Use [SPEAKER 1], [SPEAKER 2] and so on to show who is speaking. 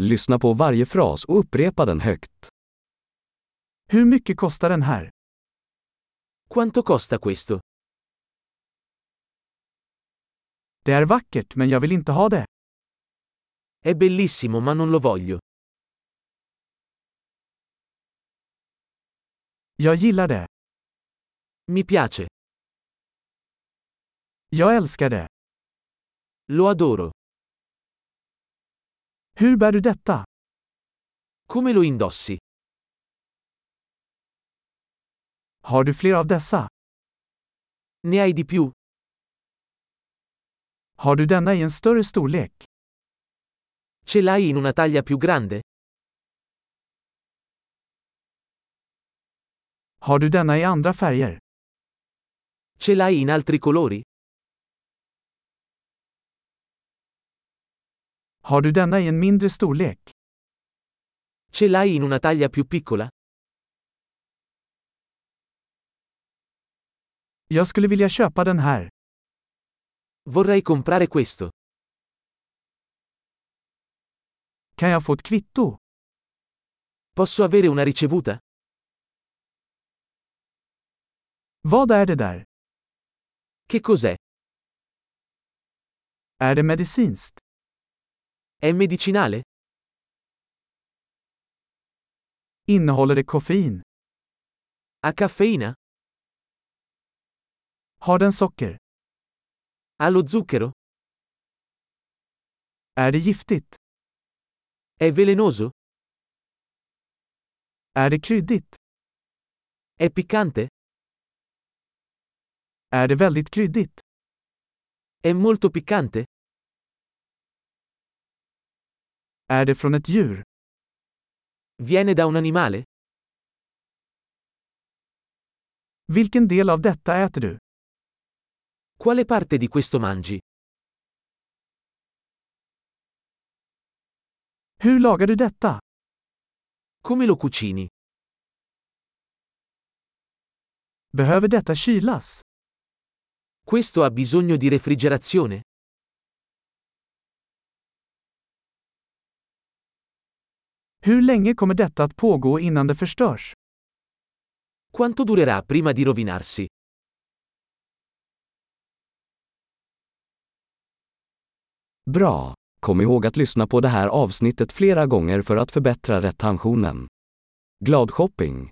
[SPEAKER 1] Lyssna på varje fras och upprepa den högt.
[SPEAKER 2] Hur mycket kostar den här?
[SPEAKER 3] Quanto costa questo?
[SPEAKER 2] Det är vackert men jag vill inte ha det.
[SPEAKER 3] È bellissimo ma non lo voglio.
[SPEAKER 2] Jag gillar det.
[SPEAKER 3] Mi piace.
[SPEAKER 2] Jag älskar det.
[SPEAKER 3] Lo adoro.
[SPEAKER 2] Hur bär du detta?
[SPEAKER 3] Come lo indossi?
[SPEAKER 2] Har du fler av dessa?
[SPEAKER 3] Ne hai di più?
[SPEAKER 2] Har du denna i en större storlek?
[SPEAKER 3] Ce l'hai in una taglia più grande?
[SPEAKER 2] Har du denna i andra färger?
[SPEAKER 3] Ce l'hai in altri colori?
[SPEAKER 2] Har du denna i en mindre storlek?
[SPEAKER 3] Ce l'hai in una taglia più piccola?
[SPEAKER 2] Jag skulle vilja köpa den här.
[SPEAKER 3] Vorrei comprare questo.
[SPEAKER 2] Kan jag få ett kvitto?
[SPEAKER 3] Posso avere una ricevuta?
[SPEAKER 2] Vad är det där?
[SPEAKER 3] Che cos'è?
[SPEAKER 2] Är det medicinskt?
[SPEAKER 3] È medicinale?
[SPEAKER 2] Innehåller det koffein?
[SPEAKER 3] Ha caffeina?
[SPEAKER 2] Har den socker?
[SPEAKER 3] Ha lo zucchero?
[SPEAKER 2] Är det giftigt?
[SPEAKER 3] È velenoso?
[SPEAKER 2] Är det kryddigt?
[SPEAKER 3] È piccante?
[SPEAKER 2] Är det väldigt kryddigt?
[SPEAKER 3] È molto piccante?
[SPEAKER 2] Är det från ett djur?
[SPEAKER 3] Viene da un animale?
[SPEAKER 2] Vilken del av detta äter du?
[SPEAKER 3] Quale parte di questo mangi?
[SPEAKER 2] Hur lagar du detta?
[SPEAKER 3] Come lo cucini?
[SPEAKER 2] Behöver detta kylas?
[SPEAKER 3] Questo ha bisogno di refrigerazione?
[SPEAKER 2] Hur länge kommer detta att pågå innan det förstörs?
[SPEAKER 3] Quanto durerà prima di rovinarsi?
[SPEAKER 1] Bra! Kom ihåg att lyssna på det här avsnittet flera gånger för att förbättra retentionen. Glad shopping!